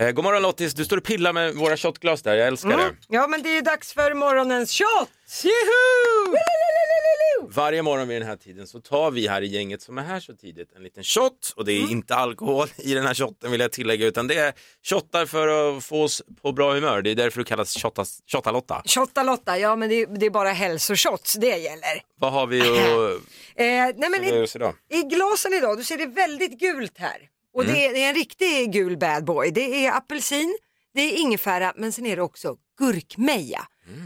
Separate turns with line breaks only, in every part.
Eh, god morgon Lottis, du står och pillar med våra shotglas där, jag älskar det.
Ja, men det är dags för morgonens shot!
Varje morgon vid den här tiden så tar vi här i gänget som är här så tidigt en liten shot och det är inte alkohol i den här shotten vill jag tillägga utan det är shottar för att få oss på bra humör. Det är därför du kallas shottas- shottalotta.
Shotta-Lotta, ja men det är, det är bara hälsoshots det gäller.
Vad har vi att
Eh, nej, men
ge
i,
oss idag?
I glasen idag, du ser det väldigt gult här. Och det, är, det är en riktig gul bad boy. Det är apelsin, det är ingefära men sen är det också gurkmeja.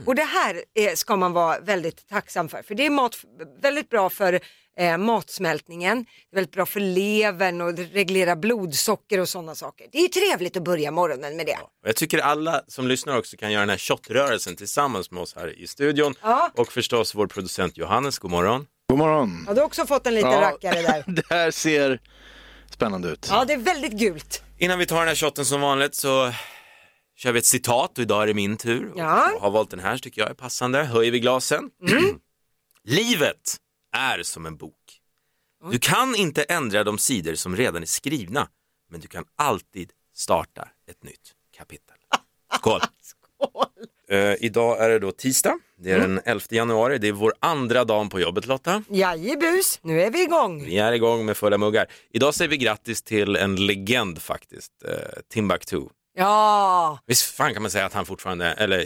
Och det här är, ska man vara väldigt tacksam för. För det är mat, väldigt bra för eh, matsmältningen, det är väldigt bra för levern och det reglerar blodsocker och sådana saker. Det är trevligt att börja morgonen med det.
Och Jag tycker alla som lyssnar också kan göra den här shotrörelsen tillsammans med oss här i studion
Ja.
och förstås vår producent Johannes, god morgon.
God morgon.
Ja, du har också fått en liten
Ja.
rackare där.
Det här ser spännande ut.
Ja, det är väldigt gult.
Innan vi tar den här shotten som vanligt så kör vi ett citat och idag är det min tur. Och
Ja.
Jag har valt den här så tycker jag är passande. Höjer vi glasen. Livet är som en bok. Du kan inte ändra de sidor som redan är skrivna, men du kan alltid starta ett nytt kapitel. Skål! Eh, idag är det då tisdag, det är den 11 januari, det är vår andra dag på jobbet Lotta.
Jajebus, nu är vi igång.
Vi är igång med fulla muggar. Idag säger vi grattis till en legend faktiskt, eh, Timbuktu.
Ja,
Visst fan kan man säga att han fortfarande, eller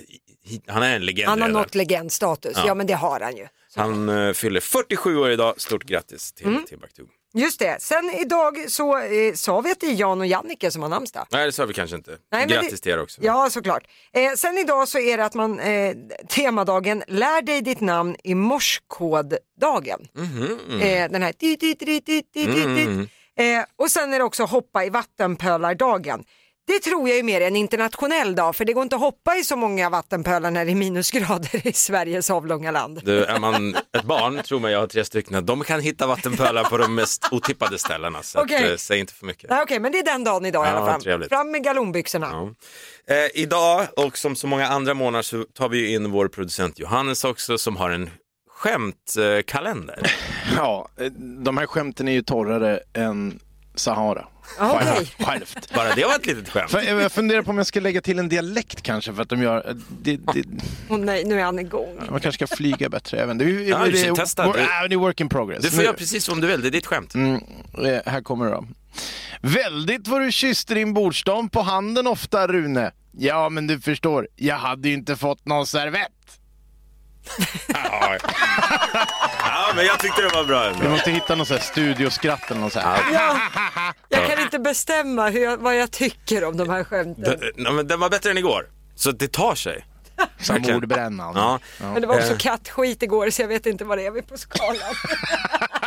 hi- han är en legend
han har
redan.
nått legendstatus. Ja. men det har han ju.
Han eh, fyller 47 år idag, stort grattis till
Mm.
Timbuktu.
Just det, sen idag så eh, sa vi att det är Jan och Jannike som har namnsdag.
Nej det sa vi kanske inte.
Nej, men
grattis
det-
till er också.
Ja, såklart. Eh, sen idag så är det att man, eh, temadagen lär dig ditt namn i morsekoddagen.
Mhm, mm.
Eh, den här dit, dit, dit, dit, dit, dit, dit. Eh, och sen är det också hoppa i vattenpölardagen. Det tror jag är mer en internationell dag för det går inte att hoppa i så många vattenpölar när det är minusgrader i Sveriges avlånga land.
Du, är man ett barn, tror mig, jag har tre stycken, de kan hitta vattenpölar på de mest otippade ställena. Så att,
Okej.
eh, säg inte för mycket.
Nej, Okej, men det är den dagen idag i
Ja,
alla fall.
trevligt.
Fram med galonbyxorna.
Ja. Eh, idag och som så många andra månader så tar vi ju in vår producent Johannes också som har en skämtkalender. Eh, kalender.
Ja, eh, de här skämten är ju torrare än Sahara.
Ja, okej.
Skärpt.
Bara det var ett litet skämt.
För eh, Jag jag funderar på om jag ska lägga till en dialekt kanske för att de gör... eh, Det, det,
Åh nej, nu är han igång.
man kanske ska flyga bättre även. Det, det,
Ja, vi ska
det-
testa.
wor-
Du-
ah, det är work in progress.
Du får göra precis som du vill, det är ditt skämt.
Mm, eh, här kommer det då. Väldigt vad du kysste din bordsdam på handen ofta, Rune. Ja, men du förstår, jag hade ju inte fått någon servett.
Ja. ja, men jag tyckte det var bra
Vi
ändå.
måste hitta någon sån här studioskratt eller något sånt här.
Ja, jag kan inte bestämma hur jag, vad jag tycker om de här skämten.
Den, ja, men den var bättre än igår, så det tar sig.
Som ordbrännan.
Ja. eh.
Men det var också kattskit igår så jag vet inte vad det är vi på skalan. Okej,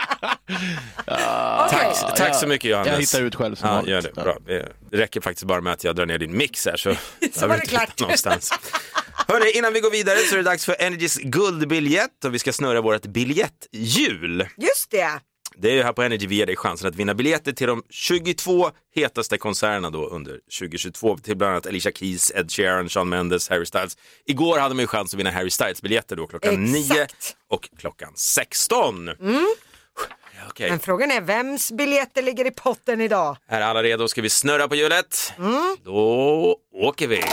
Eh, Tack, tack så mycket Johannes.
Jag hittar ut själv som
ja,
vanligt.
gör det. Bra. Eh, det räcker faktiskt bara med att jag drar ner din mix här så, jag
var
vet
det klart.
inte någonstans. Hörrni, innan vi går vidare så är det dags för Energys guldbiljett och vi ska snurra vårt biljetthjul.
just det.
Det är ju här på Energy vi ger dig chansen att vinna biljetter till de 22 hetaste konserterna då under 2022. Till bland annat Alicia Keys, Ed Sheeran, Shawn Mendes, Harry Styles. Igår hade man ju chans att vinna Harry Styles-biljetter då klockan
Exakt.
9 och klockan 16. Okej,
Men frågan är vems biljetter ligger i potten idag?
är alla redo? Ska vi snurra på hjulet? Då åker vi!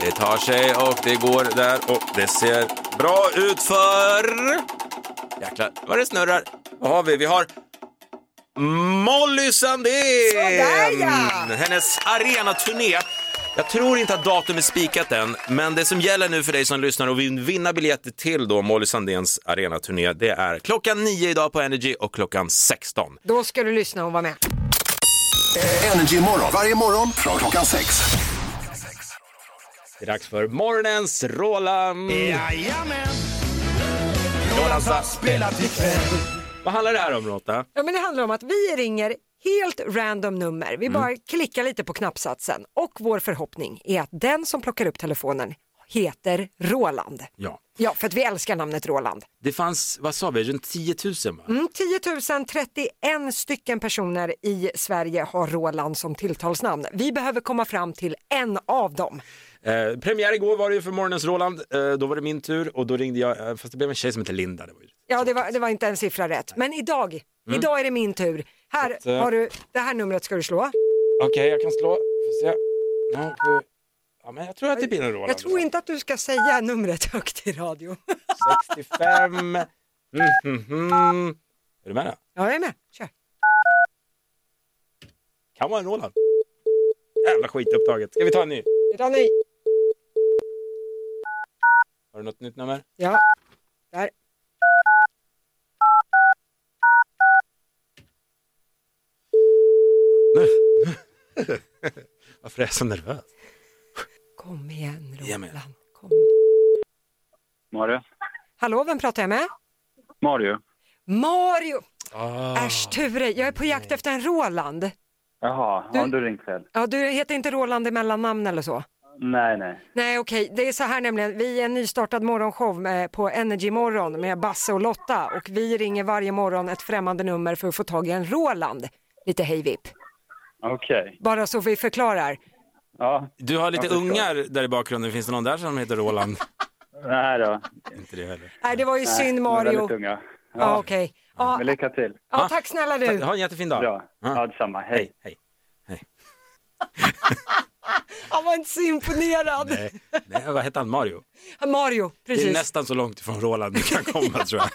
Det tar sig och det går där och det ser bra ut för... Jäklar vad det snurrar. Vad har vi? Vi har Molly Sandén!
Sådär, ja!
Hennes arenaturné. Jag tror inte att datum är spikat än, men det som gäller nu för dig som lyssnar och vill vinna biljetter till då Molly Sandéns arenaturné, det är klockan 9 idag på Energy och klockan 16.
Då ska du lyssna och vara med.
Energy morgon. Varje morgon från klockan sex.
Det är dags för morgonens Roland!
Jajamän!
Roland Sass spelar ikväll. Vad handlar det här om Lotta?
Ja, men det handlar om att vi ringer helt random nummer.
Mm.
Vi bara klickar lite på knappsatsen och vår förhoppning är att den som plockar upp telefonen heter Roland.
Ja.
Ja, för att vi älskar namnet Roland.
Det fanns, vad sa vi, runt 10 000 va?
Mm, 10 031 stycken personer i Sverige har Roland som tilltalsnamn. Vi behöver komma fram till en av dem.
Eh, premiär igår var det ju för morgonens Roland. Eh, då var det min tur och då ringde jag, eh, fast det blev en tjej som hette Linda. Det var ju...
Ja, det var, det var inte en siffra rätt. Men idag, idag är det min tur. Här
Mm. Så att, eh,
har du, det här numret ska du slå.
Okej, jag kan slå. Får se. Ja, på... ja, men jag tror att det blir en Roland.
Jag tror inte att du ska säga numret högt i radio.
65. Mm, mm, mm. Är du med då?
Ja, jag är med. Kör.
Kan vara en Roland. Jävla skit upptaget. Ska vi ta en ny?
Ronny.
Har du något nytt nummer?
Ja, där.
Varför är jag så nervös?
Kom igen
Jag är med.
Roland. Kom.
Mario?
Hallå, vem pratar jag med?
Mario?
Mario!
Ah.
Äsch Ture, jag är på jakt efter en Roland.
Jaha,
Du-
har du ringt själv?
Ja, du heter inte Roland i mellannamn eller så?
Nej, nej.
Nej okej, det är så här nämligen, vi är en nystartad morgonshow med, på Energy Morgon med Basse och Lotta och vi ringer varje morgon ett främmande nummer för att få tag i en Roland. Lite hejvipp.
Okej.
Bara så vi förklarar.
Ja,
Du har lite
Jag förstår.
ungar där i bakgrunden. Finns det någon där som heter Roland?
nej då.
inte det heller.
Nej det var ju
Nej, de
synd
är
Mario.
väldigt unga. Ja,
Ja okej. Ja,
Men lycka till.
ja, tack snälla du.
Ha en jättefin dag.
Bra. Ja, detsamma. Hej.
Hej, hej.
Han var inte så imponerad.
Nej, nej, vad hette han? Mario?
Mario,
Det är
precis.
nästan så långt ifrån Roland du kan komma tror jag.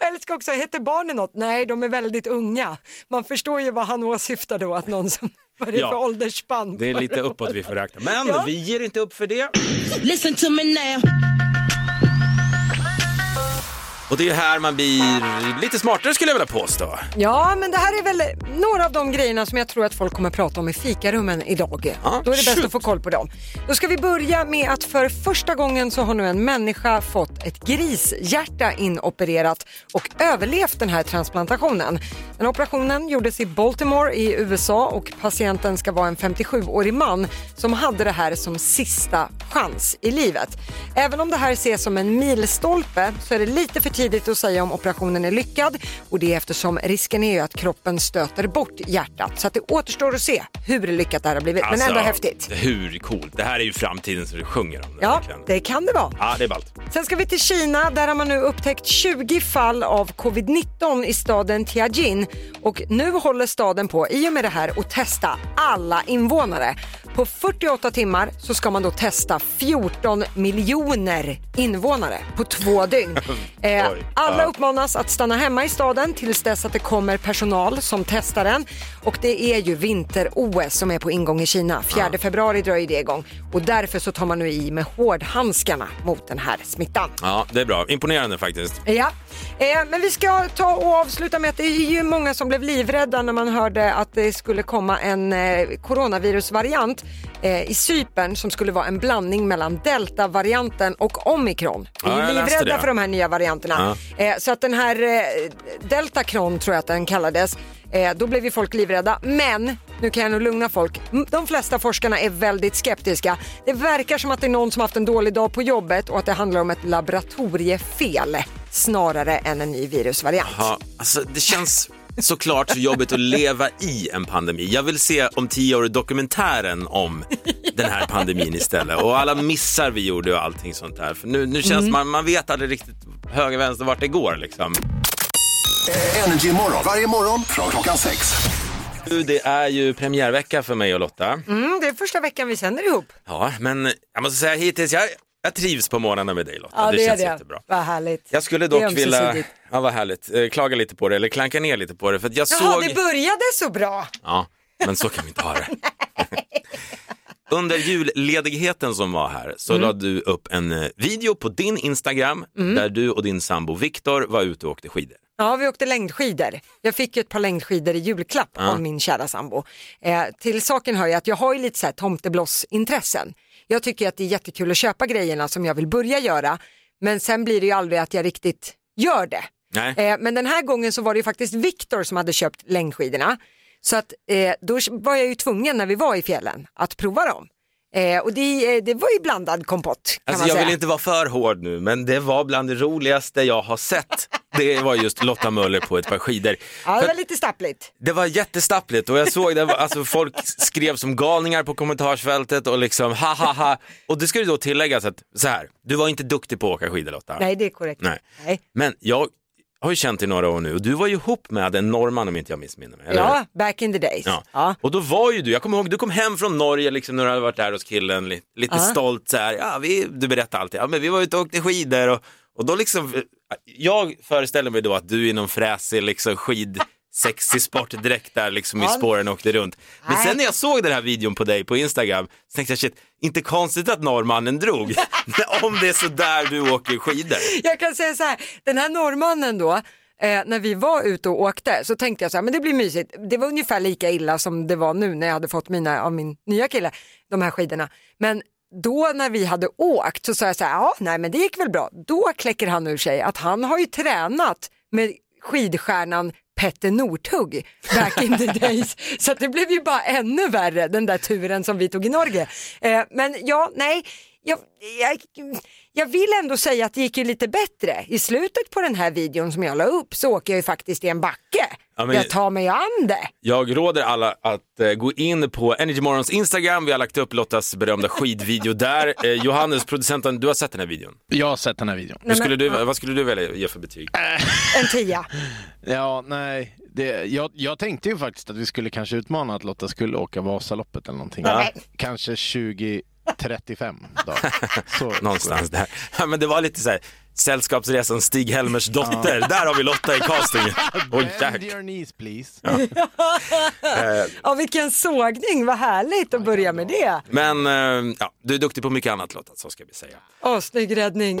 Jag älskar också, heter barnen något? Nej, de är väldigt unga. Man förstår ju vad han åsyftar då, att någon som, vad det är
Ja.
för åldersspann.
Det är lite uppåt vi får räkna. Men
Ja.
vi ger inte upp för det.
Listen to me now.
Och det är här man blir lite smartare skulle jag vilja påstå.
Ja, men det här är väl några av de grejerna som jag tror att folk kommer prata om i fikarummen idag.
Ja,
Då är det bäst
shoot.
att få koll på dem. Då ska vi börja med att för första gången så har nu en människa fått ett grishjärta inopererat och överlevt den här transplantationen. Den operationen gjordes i Baltimore i USA och patienten ska vara en 57-årig man som hade det här som sista chans i livet. Även om det här ses som en milstolpe så är det lite för tidigt att säga om operationen är lyckad och det är eftersom risken är ju att kroppen stöter bort hjärtat så att det återstår att se hur lyckat det här har blivit men ändå häftigt.
Alltså, Hur coolt. Det här är ju framtiden så du sjunger om det.
Ja,
verkligen.
det kan det vara.
ja, det är ballt.
Sen ska vi till Kina. Där har man nu upptäckt 20 fall av covid-19 i staden Tianjin. Och nu håller staden på, i och med det här, att testa alla invånare. På 48 timmar så ska man då testa 14 miljoner invånare på två dygn. Eh,
Oj.
alla
Ja.
uppmanas att stanna hemma i staden tills dess att det kommer personal som testar den. Och det är ju vinter-OS som är på ingång i Kina. 4 februari drar ju det igång och därför så tar man nu i med hårdhandskarna mot den här smittan.
Ja, det är bra. Imponerande faktiskt.
Ja, eh, men vi ska ta och avsluta med att det är ju många som blev livrädda när man hörde att det skulle komma en eh, coronavirusvariant eh, i Cypern som skulle vara en blandning mellan deltavarianten och omikron. Vi
Ja,
är
jag
ju
läste
livrädda
det.
för de här nya varianterna. Eh, så att den här eh, deltakron tror jag att den kallades, eh, då blev ju folk livrädda. Men nu kan jag nog lugna folk. M- De flesta forskarna är väldigt skeptiska. Det verkar som att det är någon som haft en dålig dag på jobbet och att det handlar om ett laboratoriefel snarare än en ny virusvariant.
Ja, alltså, det känns såklart så jobbigt att leva i en pandemi. Jag vill se om tio år dokumentären om den här pandemin istället och alla missar vi gjorde och allting sånt där. För nu, nu känns
Mm.
man, man vet aldrig riktigt höger vänster vart det går liksom.
Energy morgon. Varje morgon från klockan sex.
Nu, Det är ju premiärvecka för mig och Lotta.
Mm, det är första veckan vi sänder ihop.
Ja, men jag måste säga hittills, jag, jag trivs på morgnarna med dig Lotta. det, känns jättebra.
Vad härligt.
Jag skulle
Det är
dock vilja,
ömsesidigt.
ja vad härligt, Eh, klaga lite på det eller klanka ner lite på det för att jag
Jaha,
såg...
det började så bra.
Ja, men så kan vi inte ha det. Under julledigheten som var här så
Mm.
la du upp en eh, video på din Instagram där du och din sambo Viktor var ute och åkte skidor.
Ja, vi åkte längdskidor. Jag fick ju ett par längdskidor i julklapp av min kära sambo. Eh, till saken hör ju att jag har ju lite så här tomteblossintressen. Jag tycker att det är jättekul att köpa grejerna som jag vill börja göra, men sen blir det ju aldrig att jag riktigt gör det.
Nej.
Eh, men den här gången så var det ju faktiskt Viktor som hade köpt längdskidorna. Så att eh, då var jag ju tvungen när vi var i fjällen att prova dem. Eh, och det, eh, det var ju blandad kompott kan
Alltså,
man
jag
säga.
vill inte vara för hård nu men det var bland det roligaste jag har sett det var just Lotta Möller på ett par skidor.
Ja, det
För-
var lite stappligt.
Det var jättestappligt och jag såg det, var- alltså folk skrev som galningar på kommentarsfältet och liksom ha ha ha. Och det ska ju då tilläggas att så här, du var inte duktig på att åka skidor Lotta.
Nej, det är korrekt.
Nej.
Nej.
Men jag har ju känt dig några år nu och du var ju ihop med en norrman om inte jag missminner mig. eller hur?
Ja, back in the days.
Ja.
Ja.
Och då var ju du, jag kommer ihåg, du kom hem från Norge liksom när du hade varit där hos killen, li- lite stolt så här, ja, vi, du berättar alltid, ja men vi var ute och åkte skidor och, och då liksom, eh, jag föreställer mig då att du i någon fräsig liksom skid sexig sportdräkt där liksom i spåren och åkte runt. Men sen när jag såg den här videon på dig på Instagram så tänkte jag shit, inte konstigt att norrmannen drog. Om det är så där du åker skidor.
Jag kan säga så här, den här norrmannen då, eh, när vi var ute och åkte så tänkte jag så här, men det blir mysigt. Det var ungefär lika illa som det var nu när jag hade fått mina av min nya kille, de här skidorna. Men då när vi hade åkt så sa jag så här, ja nej men det gick väl bra. Då kläcker han ur sig att han har ju tränat med skidstjärnan Petter Northug back in the days. Så att det blev ju bara ännu värre den där turen som vi tog i Norge. Eh, men ja, nej, jag, jag, jag vill ändå säga att det gick ju lite bättre. I slutet på den här videon som jag la upp så åker jag ju faktiskt i en backe.
Ja, men-
Jag tar mig an det.
Jag råder alla att eh, gå in på Energymorgons Instagram. Vi har lagt upp Lottas berömda skidvideo där. Eh, Johannes, producenten, du har sett den här videon.
Jag har sett den här videon.
Hur skulle du, vad skulle du välja ge för betyg?
En tia.
Ja, nej. Det, jag, jag tänkte ju faktiskt att vi skulle kanske utmana att Lotta skulle åka Vasaloppet eller någonting. Kanske 2035 då. Så,
Någonstans där. Ja, men det var lite så här, Sällskapsresan Stig-Helmers dotter. Där har vi Lotta i castingen. Oj,
Bend
jäklar.
your knees please.
Ja, vilken sågning, vad härligt att börja med det.
Men eh, ja, du är duktig på mycket annat Lotta, så ska vi säga.
Åh, snygg räddning.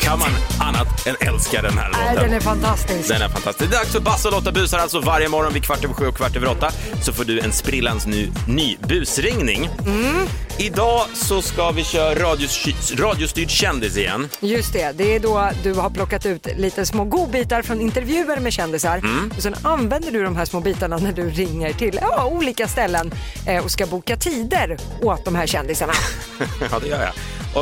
Kan man annat än älska den här
Nej,
låten?
den är fantastisk.
Den är fantastisk. Det är dags för Basse och Lotta busar alltså varje morgon vid kvart över sju och kvart över åtta. Så får du en sprillans ny, ny busringning.
Mm.
Idag så ska vi köra radios, radiostyrd kändis igen.
Just det, det är då du har plockat ut lite små godbitar från intervjuer med kändisar
Mm.
och sen använder du de här små bitarna när du ringer till ja, olika ställen eh, och ska boka tider åt de här kändisarna.
ja, det gör jag.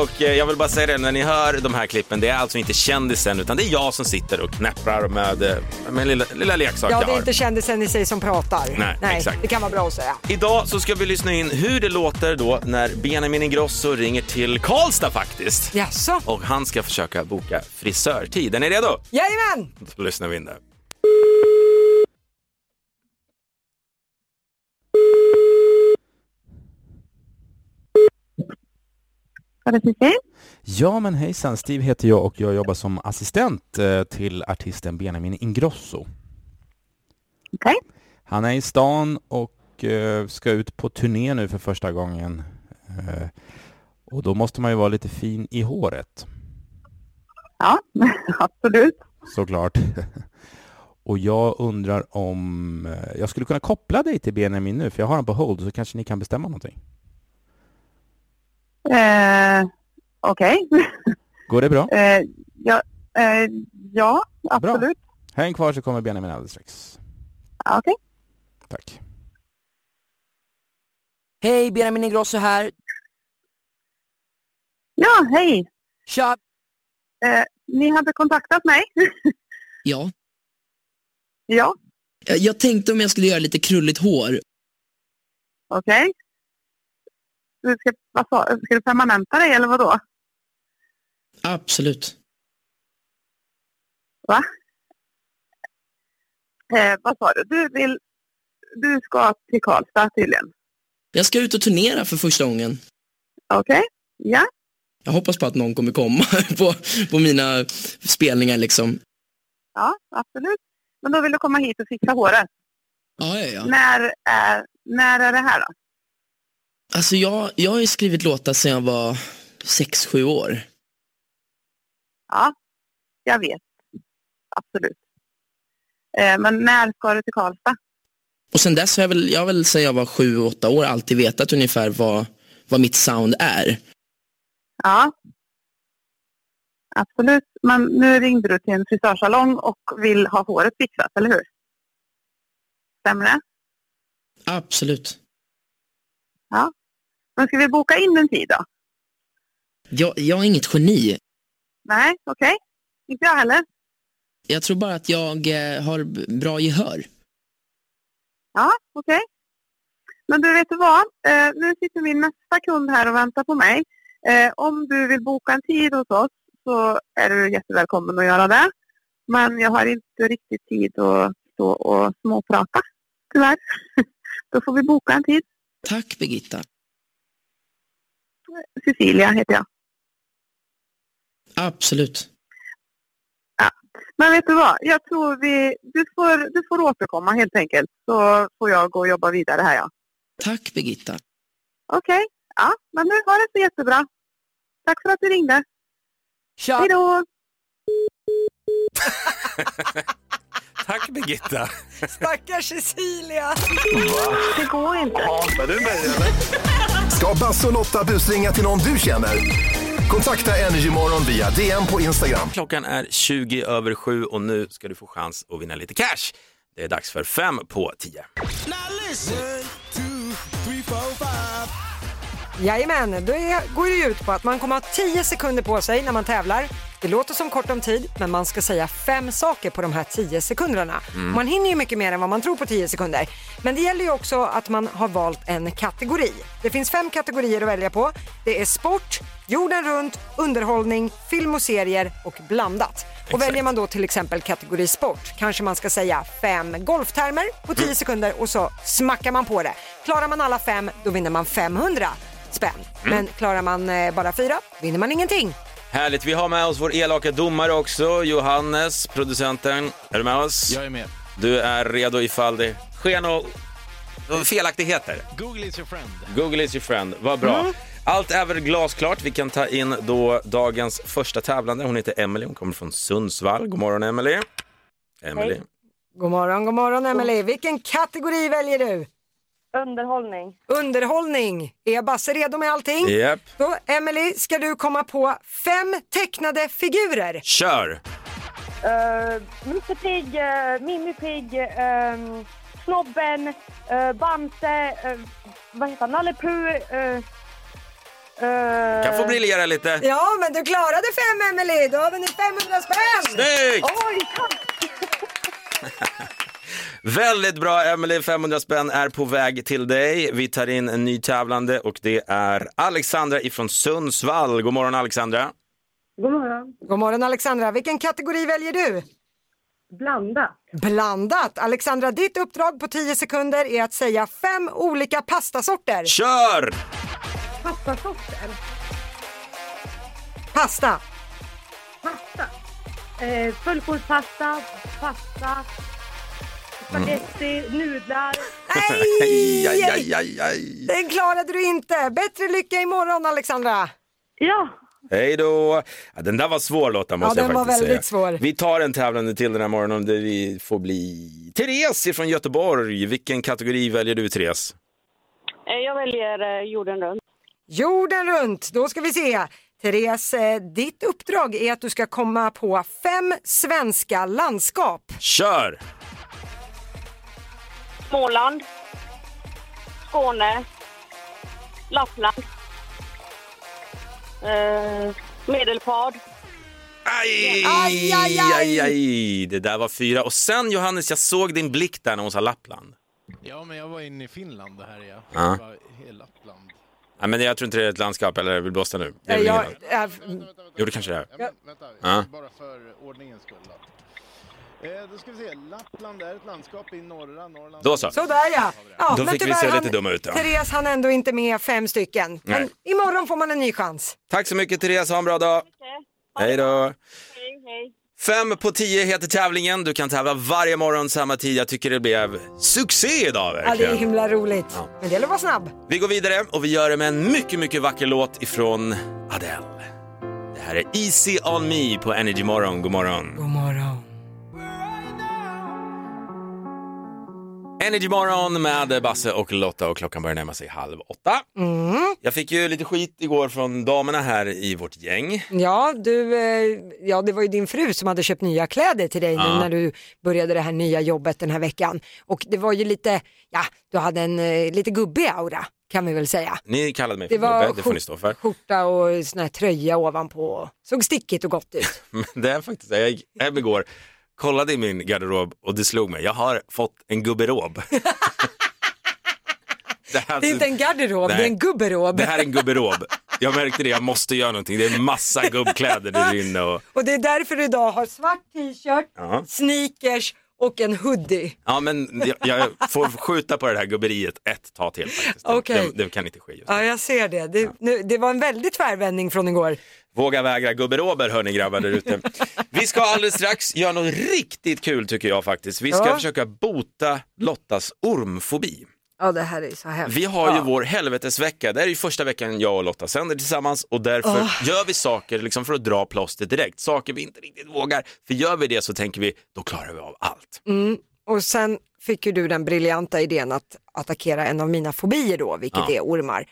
Och eh, jag vill bara säga det, när ni hör de här klippen, det är alltså inte kändisen utan det är jag som sitter och knäpprar med, eh, med en lilla, lilla leksak
Ja,
jag
det är
har.
inte kändisen i sig som pratar.
Nej, exakt.
Det kan vara bra att säga.
Idag så ska vi lyssna in hur det låter då när Benjamin Ingrosso ringer till Karlstad faktiskt.
Jaså?
Och han ska försöka boka frisörtid. Är ni redo?
Jajamän!
Då lyssnar vi in där.
Ja men hejsan, Steve heter jag och jag jobbar som assistent eh, till artisten Benjamin Ingrosso. Han är i stan och eh, ska ut på turné nu för första gången. Eh, Och då måste man ju vara lite fin i håret. Ja, absolut. Såklart. Och jag undrar om eh, jag skulle kunna koppla dig till Benjamin nu, för jag har honom på hold, så kanske ni kan bestämma någonting.
Eh, Okej.
Går det bra?
Eh, ja, eh, ja, absolut.
Häng kvar så kommer Benjamin alldeles strax.
Ja, Okej.
Tack.
Hej, Benjamin Ingrosso här.
Ja, hej.
Tja.
Eh, ni hade kontaktat mig?
Ja,
ja,
jag- jag tänkte om jag skulle göra lite krulligt hår.
okej. Du ska, vad sa, ska du permanenta dig eller vad då?
Absolut.
Eh, vad sa du? Du, vill, du ska till Karlstad tydligen.
Jag ska ut och turnera för första gången.
Okej. Ja,
Jag hoppas på att någon kommer komma på, på mina spelningar liksom.
ja, absolut. Men då vill du komma hit och fixa håret.
Ja, ja, ja.
När, är, när är det här då?
Alltså jag, jag har ju skrivit låtar sedan jag var 6-7 år.
Ja, jag vet. Absolut. Eh, men när ska du till Karlstad?
Och sen dess har jag väl, jag har väl sedan jag var 7-8 år alltid vetat ungefär vad, vad mitt sound är.
Ja. Absolut. Men nu ringde du till en frisörsalong och vill ha håret fixat, eller hur? Stämmer det?
Absolut.
Ja. Men ska vi boka in en tid då?
Jag, jag är inget geni.
Nej, okej. Inte jag heller.
Jag tror bara att jag eh, har b- bra gehör.
Ja, okej. Men du, vet du vad? Eh, nu sitter min nästa kund här och väntar på mig. Eh, om du vill boka en tid hos oss så är du jättevälkommen att göra det. Men jag har inte riktigt tid att stå och småprata, tyvärr. Då får vi boka en tid.
Tack Birgitta.
Cecilia heter jag.
Absolut.
Men vet du vad? Jag tror vi... Du får, du får återkomma helt enkelt. Så får jag gå och jobba vidare här, ja.
Tack Birgitta.
Okej. Ja, men nu har det så jättebra. Tack för att du ringde.
Tja.
Hej då!
Tack Birgitta.
Stackars Cecilia.
Det går inte.
Ska Basse och Lotta busringa till någon du känner? Kontakta Energymorgon via DM på Instagram.
Klockan är 20 över 7 och nu ska du få chans att vinna lite cash. Det är dags för 5 på 10.
Jajamän, det går ju ut på att man kommer ha 10 sekunder på sig när man tävlar. Det låter som kort om tid, men man ska säga fem saker på de här 10 sekunderna.
Mm.
Man hinner ju mycket mer än vad man tror på 10 sekunder. Men det gäller ju också att man har valt en kategori. Det finns fem kategorier att välja på. Det är sport, jorden runt, underhållning, film och serier och blandat. Och väljer man då till exempel kategori sport kanske man ska säga fem golftermer på 10 sekunder och så smackar man på det. Klarar man alla fem, då vinner man 500 spänn.
Mm.
Men klarar man eh, bara fyra, vinner man ingenting.
Härligt, vi har med oss vår elaka domare också, Johannes, producenten. Är du med oss? Jag
är med.
Du är redo ifall det sker nå- några felaktigheter.
Google is your friend.
Google is your friend, vad bra.
Mm.
Allt är väl glasklart. Vi kan ta in då dagens första tävlande. Hon heter Emily. hon kommer från Sundsvall. God morgon Emily. Emily.
Hej. God morgon, god morgon Emelie. Vilken kategori väljer du?
Underhållning.
Underhållning. Är Basse redo med allting?
Japp.
Då Emelie ska du komma på fem tecknade figurer.
Kör!
Uh, Musse Pigg, eh, Mimmi Pigg, ehm, Snobben, eh, Bamse, eh, vad heter han, Nalle Puh, eh, eh,
Kan få briljera lite.
Ja, men du klarade fem Emelie. Då har vi nu 500 spänn.
Snyggt!
Oj, tack.
Väldigt bra Emelie, 500 spänn är på väg till dig. Vi tar in en ny tävlande och det är Alexandra ifrån Sundsvall. God morgon Alexandra.
God
eh,
morgon. God morgon Alexandra. Vilken kategori väljer du? Blandat. Blandat. Alexandra, ditt uppdrag på 10 sekunder är att säga fem olika pastasorter.
Kör!
Pastasorter?
Pasta.
Pasta. Eh, fullkornspasta, pasta, spagetti, nudlar.
Aj, aj, aj, aj, aj.
Den klarade du inte. Bättre lycka imorgon Alexandra. Ja.
Hej då! Ja, den där var svår Lotta måste
Ja,
jag
den var
faktiskt säga.
väldigt svår.
Vi tar en tävlande till den här morgonen där vi får bli Therese ifrån Göteborg. Vilken kategori väljer du Therese?
Eh, Jag väljer eh, jorden runt.
Jorden runt. Då ska vi se. Therese, eh, ditt uppdrag är att du ska komma på fem svenska landskap.
Kör!
Småland, Skåne, Lappland, eh, Medelpad.
Aj!
Aj, aj, aj!
aj, aj. Det där var fyra. Och sen Johannes, jag såg din blick där när hon sa Lappland.
Ja, men jag var inne i Finland det här är jag.
Ja.
Jag var i Lappland.
Nej, men jag tror inte det är ett landskap, eller vill blåsa nu? Det är
Eh,
väl
Jag,
ingen-
eh,
Jo, det kanske det är.
Ja, men, vänta,
Ja.
bara för ordningens skull. Då. Eh, då ska vi se, Lappland är ett landskap i norra Norrland.
Då så.
sådär ja. ja
Då
men
fick vi
tyvärr
se lite
hann-
dumma ut, då.
Therese han ändå inte med fem stycken. Men
Nej.
imorgon får man en ny chans.
Tack så mycket Therese, ha en bra dag. Hej då.
Hej, hej.
Fem på tio heter tävlingen. Du kan tävla varje morgon samma tid. Jag tycker det blev succé idag
Ja, det är
verkligen.
himla roligt. Men det gäller att vara snabb.
Vi går vidare och vi gör det med en mycket, mycket vacker låt ifrån Adele. Det här är Easy on me på Energy Morgon. God morgon.
God morgon.
Energy Morgon med Basse och Lotta och klockan börjar närma sig halv åtta.
Mm.
Jag fick ju lite skit igår från damerna här i vårt gäng.
Ja, du, eh, ja, det var ju din fru som hade köpt nya kläder till dig
Ja.
nu när du började det här nya jobbet den här veckan. Och det var ju lite, ja, du hade en eh, lite gubbig aura kan vi väl säga.
Ni kallade mig för
Det var
gubbe, det får
skjort-
ni stå för.
Skjorta och sån här tröja ovanpå. och Såg stickigt och gott ut.
Men det är faktiskt, jag gick hem igår, kollade i min garderob och det slog mig, jag har fått en gubberob. det, här,
Det är inte en garderob, det är en gubberob.
det här är en gubberob. Jag märkte det, jag måste göra någonting. Det är massa gubbkläder där inne och
Och det är därför du idag har svart t-shirt,
Ja.
sneakers och en hoodie.
Ja men jag, jag får skjuta på det här gubberiet ett tag till faktiskt.
Okej.
Det, det kan inte ske just
Ja, jag ser det. Det, nu, det var en väldig tvärvändning från igår.
Våga vägra gubberober hörni grabbar där ute. Vi ska alldeles strax göra något riktigt kul tycker jag faktiskt. Vi ska
Ja.
försöka bota Lottas ormfobi.
Ja, det här är så hemskt.
Vi har ju
ja.
vår helvetesvecka, det här är ju första veckan jag och Lotta sänder tillsammans och därför
Ah.
gör vi saker liksom för att dra plåster direkt, saker vi inte riktigt vågar. För gör vi det så tänker vi, då klarar vi av allt.
Mm. Och sen fick ju du den briljanta idén att attackera en av mina fobier då, vilket
Ja.
är ormar.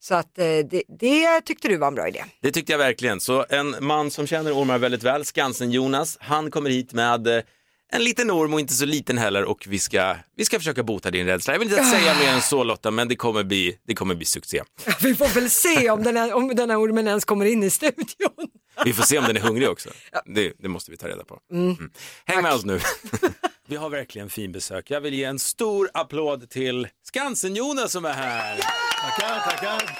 Så att eh, det, det tyckte du var en bra idé.
Det tyckte jag verkligen. Så en man som känner ormar väldigt väl, Skansen-Jonas, han kommer hit med eh, en liten orm och inte så liten heller och vi ska, vi ska försöka bota din rädsla. Jag vill inte säga mer än så Lotta, men det kommer bli, det kommer bli succé.
Vi får väl se om den, här, om den här ormen ens kommer in i studion.
Vi får se om den är hungrig också. Det, det måste vi ta reda på. Mm. Häng med oss nu. Vi har verkligen fin besök. Jag vill ge en stor applåd till Skansen-Jonas som är här. Tackar, tackar.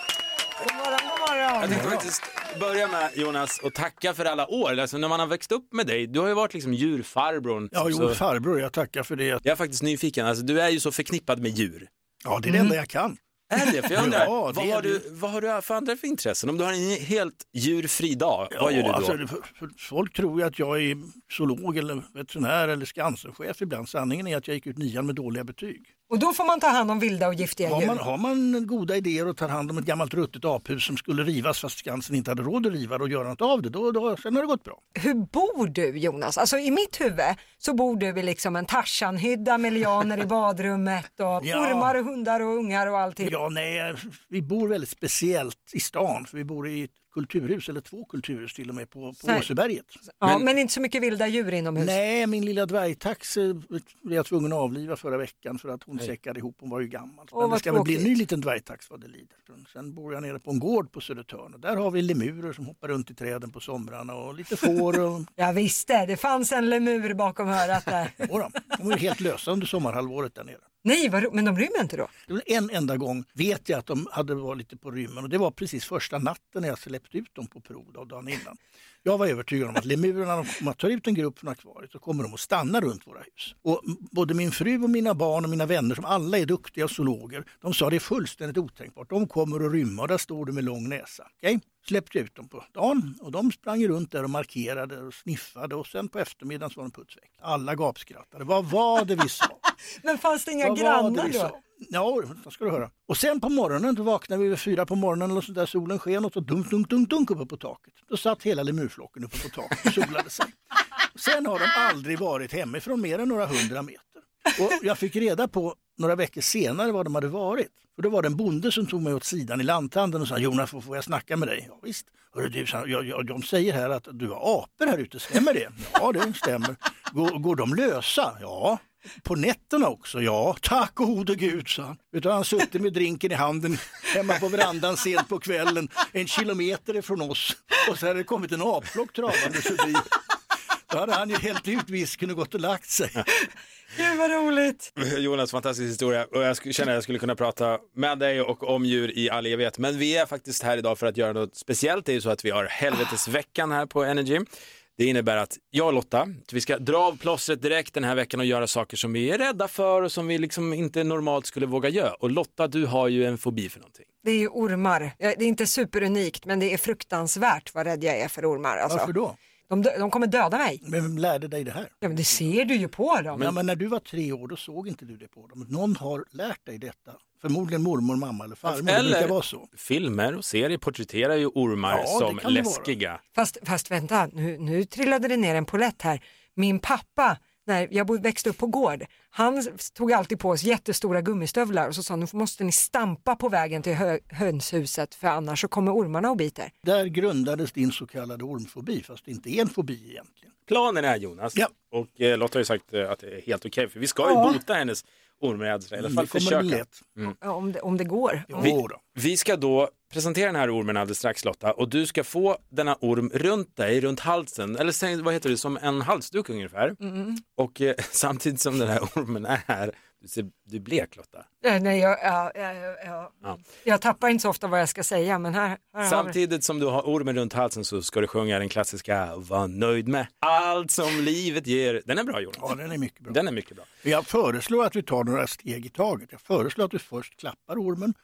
God morgon, god morgon.
Jag tänkte faktiskt börja med Jonas och tacka för alla år. Alltså, när man har växt upp med dig, du har ju varit liksom djurfarbrorn.
Ja, jo,
Så-
farbror, jag tackar för det.
Jag är faktiskt nyfiken, alltså, du är ju så förknippad med djur.
Ja, det är det
Mm.
enda jag kan.
Är det? För jag undrar,
Ja, det
vad,
är
har
det.
du, vad har du för andra för intressen? Om du har en helt djurfri dag, vad gör du då?
alltså, f- f- folk tror ju att jag är zoolog eller veterinär eller Skansenchef ibland. Sanningen är att jag gick ut nian med dåliga betyg.
Och då får man ta hand om vilda och giftiga
Har
djur.
man, har man goda idéer och tar hand om ett gammalt ruttet aphus som skulle rivas fast Skansen inte hade råd att riva det och göra något av det, då, då sen har det gått bra.
Hur bor du Jonas? Alltså i mitt huvud så bor du i liksom en Tarzanhydda med lianer i badrummet och
Ja.
ormar och hundar och ungar och allting.
Ja, nej, vi bor väldigt speciellt i stan, för vi bor i ett kulturhus, eller två kulturhus till och med, på, på
Så-
Åseberget.
Ja, men... inte så mycket vilda djur inomhus.
Nej, min lilla dvärgtax eh, blev jag tvungen att avliva förra veckan för att hon säckade ihop, hon var ju gammal.
Åh,
Men det
vad
ska väl bli en
tråkigt.
ny liten dvärgtax vad det lider. Sen bor jag nere på en gård på Södertörn och där har vi lemurer som hoppar runt i träden på somrarna och lite får. Och...
Jag visste, det fanns en lemur bakom örat där.
Jodå, de är helt lösa under sommarhalvåret där nere.
Nej, vad ro- men de rymmer inte då?
Det var En enda gång vet jag att de hade varit lite på rymmen och det var precis första natten när jag släppte ut dem på prov då, dagen innan. Jag var övertygad om att lemurerna, de- om man tar ut en grupp från akvariet så kommer de att stanna runt våra hus. Och m- både min fru och mina barn och mina vänner som alla är duktiga zoologer, de sa det är fullständigt otänkbart. De kommer att rymma och där står du med lång näsa. Okej? Släppte ut dem på dagen och de sprang ju runt där och markerade och sniffade och sen på eftermiddagen så var de putsväck. Alla gapskrattade. Vad var det vi sa?
Men fanns det inga
Vad var det
grannar
vi
då?
sa? Ja, det ska du höra. Och sen på morgonen, då vaknade vi vid fyra på morgonen eller så där solen sken och så dunk, dunk, dunk, dunk uppe på taket. Då satt hela lemurflocken uppe på taket och solade sig. Sen har de aldrig varit hemifrån mer än några hundra meter. Och jag fick reda på några veckor senare var de hade varit. För då var det en bonde som tog mig åt sidan i lanthandeln och sa Jonas, får- får jag snacka med dig? Ja, visst. Hörru, du, sa han, jag, jag, de säger här att du har apor här ute, stämmer det? Ja, det stämmer. Går, går de lösa? Ja. På nätterna också? Ja, tack gode gud, sa han. Utan han suttit med drinken i handen hemma på verandan sent på kvällen, en kilometer ifrån oss. Och så hade det kommit en apflock travande förbi. Då hade han ju hällt ut whiskyn och gått och lagt sig.
Gud vad roligt!
Jonas, fantastisk historia. Och jag sk- känner att jag skulle kunna prata med dig och om djur i all evighet. Men vi är faktiskt här idag för att göra något speciellt. Det är ju så att vi har helvetesveckan här på Energy. Det innebär att jag och Lotta, vi ska dra av plåstret direkt den här veckan och göra saker som vi är rädda för och som vi liksom inte normalt skulle våga göra. Och Lotta, du har ju en fobi för någonting.
Det är ju ormar. Ja, Det är inte superunikt men det är fruktansvärt vad rädd jag är för ormar. Alltså.
Varför då?
De, dö- de kommer döda mig.
Men vem lärde dig det här?
Ja, men det ser du ju på dem.
Men, ja, men när du var tre år då såg inte du det på dem. Någon har lärt dig detta. Förmodligen mormor, mamma eller farmor. Det brukar vara så.
filmer och serier porträtterar ju ormar
Ja, det
som
kan det vara.
läskiga.
Fast, fast vänta, nu, nu trillade det ner en polett här. Min pappa, när jag bo- växte upp på gård, han s- tog alltid på oss jättestora gummistövlar och så sa han, nu måste ni stampa på vägen till hö- hönshuset för annars så kommer ormarna och biter.
Där grundades din så kallade ormfobi, fast det inte är en fobi egentligen.
Planen är Jonas, och eh, Lotta har ju sagt eh, att det är helt okej för vi ska
Ja.
ju bota hennes ormrädsla, i alla
Mm,
fall
det kommer bli
försöka.
lätt.
Mm.
Ja, Om det, om det går.
Oh
Vi, vi ska då presentera den här ormen alldeles strax Lotta och du ska få denna orm runt dig, runt halsen, eller säg, vad heter det, som en halsduk ungefär.
Mm.
Och eh, samtidigt som den här ormen är här, du, ser, du är blek Lotta.
Eh, Nej, jag, ja, ja, ja, ja.
Ja.
jag tappar inte så ofta vad jag ska säga men här, här har vi det.
Samtidigt som du har ormen runt halsen så ska du sjunga den klassiska Var nöjd med allt som livet ger. Den är bra Jonas.
Ja, den är mycket bra.
Den är mycket bra.
Jag föreslår att vi tar några steg i taget. Jag föreslår att du först klappar ormen,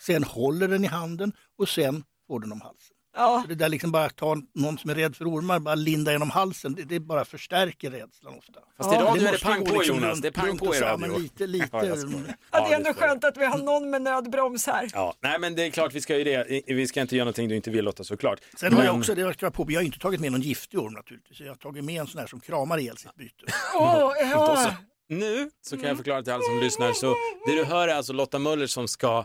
sen håller den i handen och sen får den om halsen.
Ja.
Så det där liksom bara att ta någon som är rädd för ormar, bara linda genom halsen, det, det bara förstärker rädslan ofta.
Fast i radio är det
måste
pang
gå
på
liksom
Jonas,
runt-
det är pang
runt
på
och
i
fram,
radio.
men Lite, lite.
Ja, jag skojar.
Ja, det är ändå
skojar.
skönt att vi har någon med nödbroms här.
Ja, nej men det är klart vi ska ju det. Vi ska inte göra någonting du inte vill Lotta såklart.
Sen har jag
Men-
också, det jag ska på, jag har inte tagit med någon giftig orm naturligtvis. Jag har tagit med en sån här som kramar ihjäl sitt byte.
Åh,
Och
Ah.
så, nu så kan jag förklara till alla som lyssnar. Så det du hör är alltså Lotta Möller som ska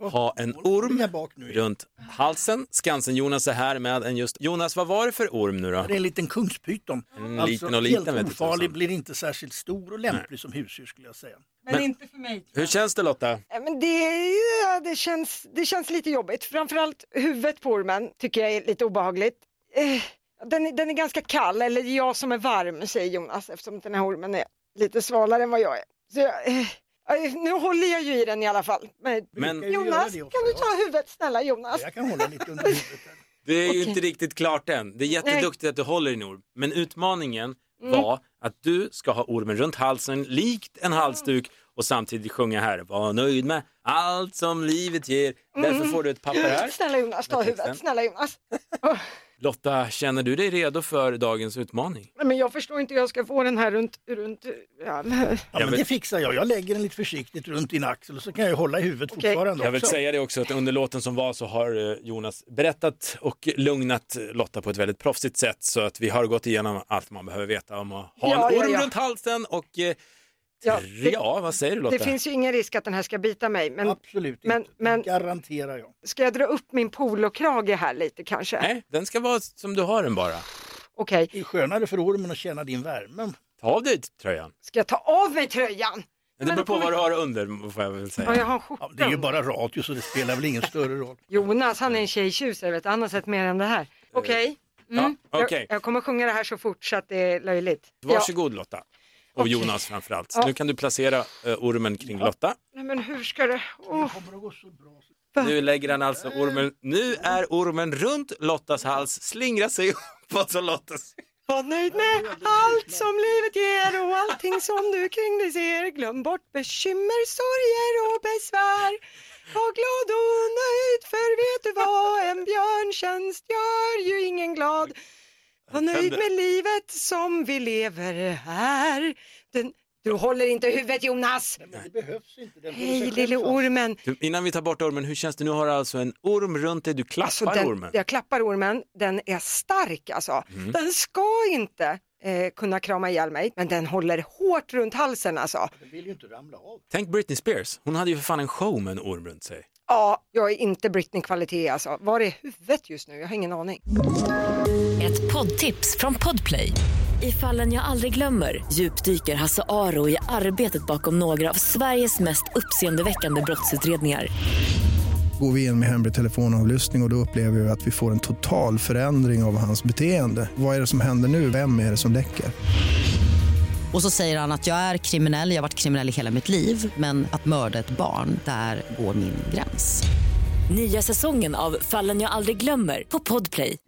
ha en orm runt halsen. Skansen-Jonas är här med en just... Jonas, vad var det för orm nu då?
Det är en liten kungspyton.
En liten och liten, vet
helt
du,
ofarlig,
tusan.
blir inte särskilt stor och lämplig som husdjur skulle jag säga.
Men,
Men-
inte för mig.
Hur känns det Lotta?
Ja, Men det, ja, det, känns, det känns lite jobbigt. Framförallt huvudet på ormen tycker jag är lite obehagligt. Eh, Den, är- den är ganska kall, eller jag som är varm säger Jonas eftersom den här ormen är lite svalare än vad jag är. Så jag, eh, eh, nu håller jag ju i den i alla fall. Men,
Men-
Jonas, kan du ta huvudet snälla Jonas?
Jag kan hålla lite under huvudet.
Det är ju inte riktigt klart än. Det är jätteduktigt att du håller i en orm. Men utmaningen
Mm.
var att du ska ha ormen runt halsen likt en halsduk och samtidigt sjunga här. Var nöjd med allt som livet ger. Därför får du ett papper här.
Snälla Jonas, ta
Med
huvudet.
texten.
Snälla Jonas.
Lotta, känner du dig redo för dagens utmaning?
Nej, Men jag förstår inte hur jag ska få den här runt... runt ja, men-
Ja, men det fixar jag. Jag lägger den lite försiktigt runt din axel och så kan jag ju hålla i huvudet fortfarande
Jag vill
också.
säga det också att under låten som var så har eh, Jonas berättat och lugnat Lotta på ett väldigt proffsigt sätt så att vi har gått igenom allt man behöver veta om att ha
Ja,
en
ja,
orm
ja.
runt halsen och eh,
Ja,
ja,
det-
vad säger du Lotta?
Det finns ju ingen risk att den här ska bita mig. Men,
Absolut
men,
inte,
men
garanterar jag.
ska jag dra upp min polokrage här lite kanske?
Nej, den ska vara som du har den bara.
Okej,
Det är skönare för ormen att känna din värme.
Ta av dig tröjan.
ska jag ta av mig tröjan?
Men det beror på vad du har under får jag väl
Ja, jag har
säga.
en skjorta.
Det är ju bara radio så det spelar väl ingen större roll.
Jonas, han är en tjejtjusare, vet du. han har sett mer än det här. Okej, mm.
ja, okej.
jag, jag kommer sjunga det här så fort så att det är löjligt.
Varsågod Lotta. Och
Okej.
Jonas framförallt.
Ja.
Nu kan du placera eh, ormen kring Lotta.
Nej, men hur ska det... Åh.
Nu lägger han alltså ormen, nu är ormen runt Lottas hals, slingrar sig alltså, uppåt så Lotta ser.
Var nöjd med allt som livet ger och allting som du kring dig ser. Glöm bort bekymmer, sorger och besvär. Var glad och nöjd för vet du vad, en björntjänst gör ju ingen glad. Var nöjd med livet som vi lever här. Den, du håller inte huvudet Jonas!
Det behövs inte. Den får
Hej
sig
lille ormen!
Du, Innan vi tar bort ormen, hur känns det? Nu har du alltså en orm runt dig, du klappar
Alltså, den,
ormen.
jag klappar ormen, den är stark alltså.
Mm.
Den ska inte eh, kunna krama ihjäl mig, men den håller hårt runt halsen alltså.
Den vill ju inte ramla av.
Tänk Britney Spears, hon hade ju för fan en show med en orm runt sig.
Ja, jag är inte Britney-kvalitet alltså. Var är huvudet just nu? Jag har ingen aning.
Ett poddtips från Podplay. I fallen jag aldrig glömmer djupdyker Hasse Aro i arbetet bakom några av Sveriges mest uppseendeväckande brottsutredningar.
Går vi in med hemlig telefonavlyssning och, och då upplever vi att vi får en total förändring av hans beteende. Vad är det som händer nu? Vem är det som läcker?
Och så säger han att jag är kriminell, jag har varit kriminell i hela mitt liv men att mörda ett barn, där går min gräns.
Nya säsongen av Fallen jag aldrig glömmer på Podplay.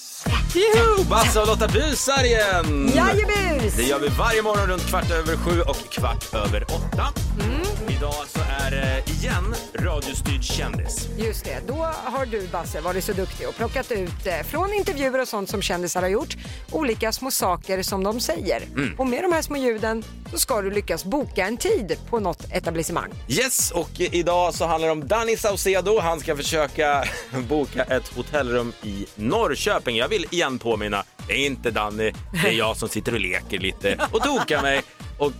Juhu!
Basse och Lotta busar igen!
Jajebus!
Det gör vi varje morgon runt kvart över sju och kvart över åtta.
Mm.
Idag så är det igen radiostyrd kändis.
Just det, då har du Basse varit så duktig och plockat ut eh, från intervjuer och sånt som kändisar har gjort olika små saker som de säger.
Mm.
Och med de här små ljuden så ska du lyckas boka en tid på något etablissemang.
Yes, och idag så handlar det om Danny Saucedo. Han ska försöka boka ett hotellrum i Norrköping. Jag vill igen påminna, det är inte Danny, det är jag som sitter och leker lite och tokar mig. Och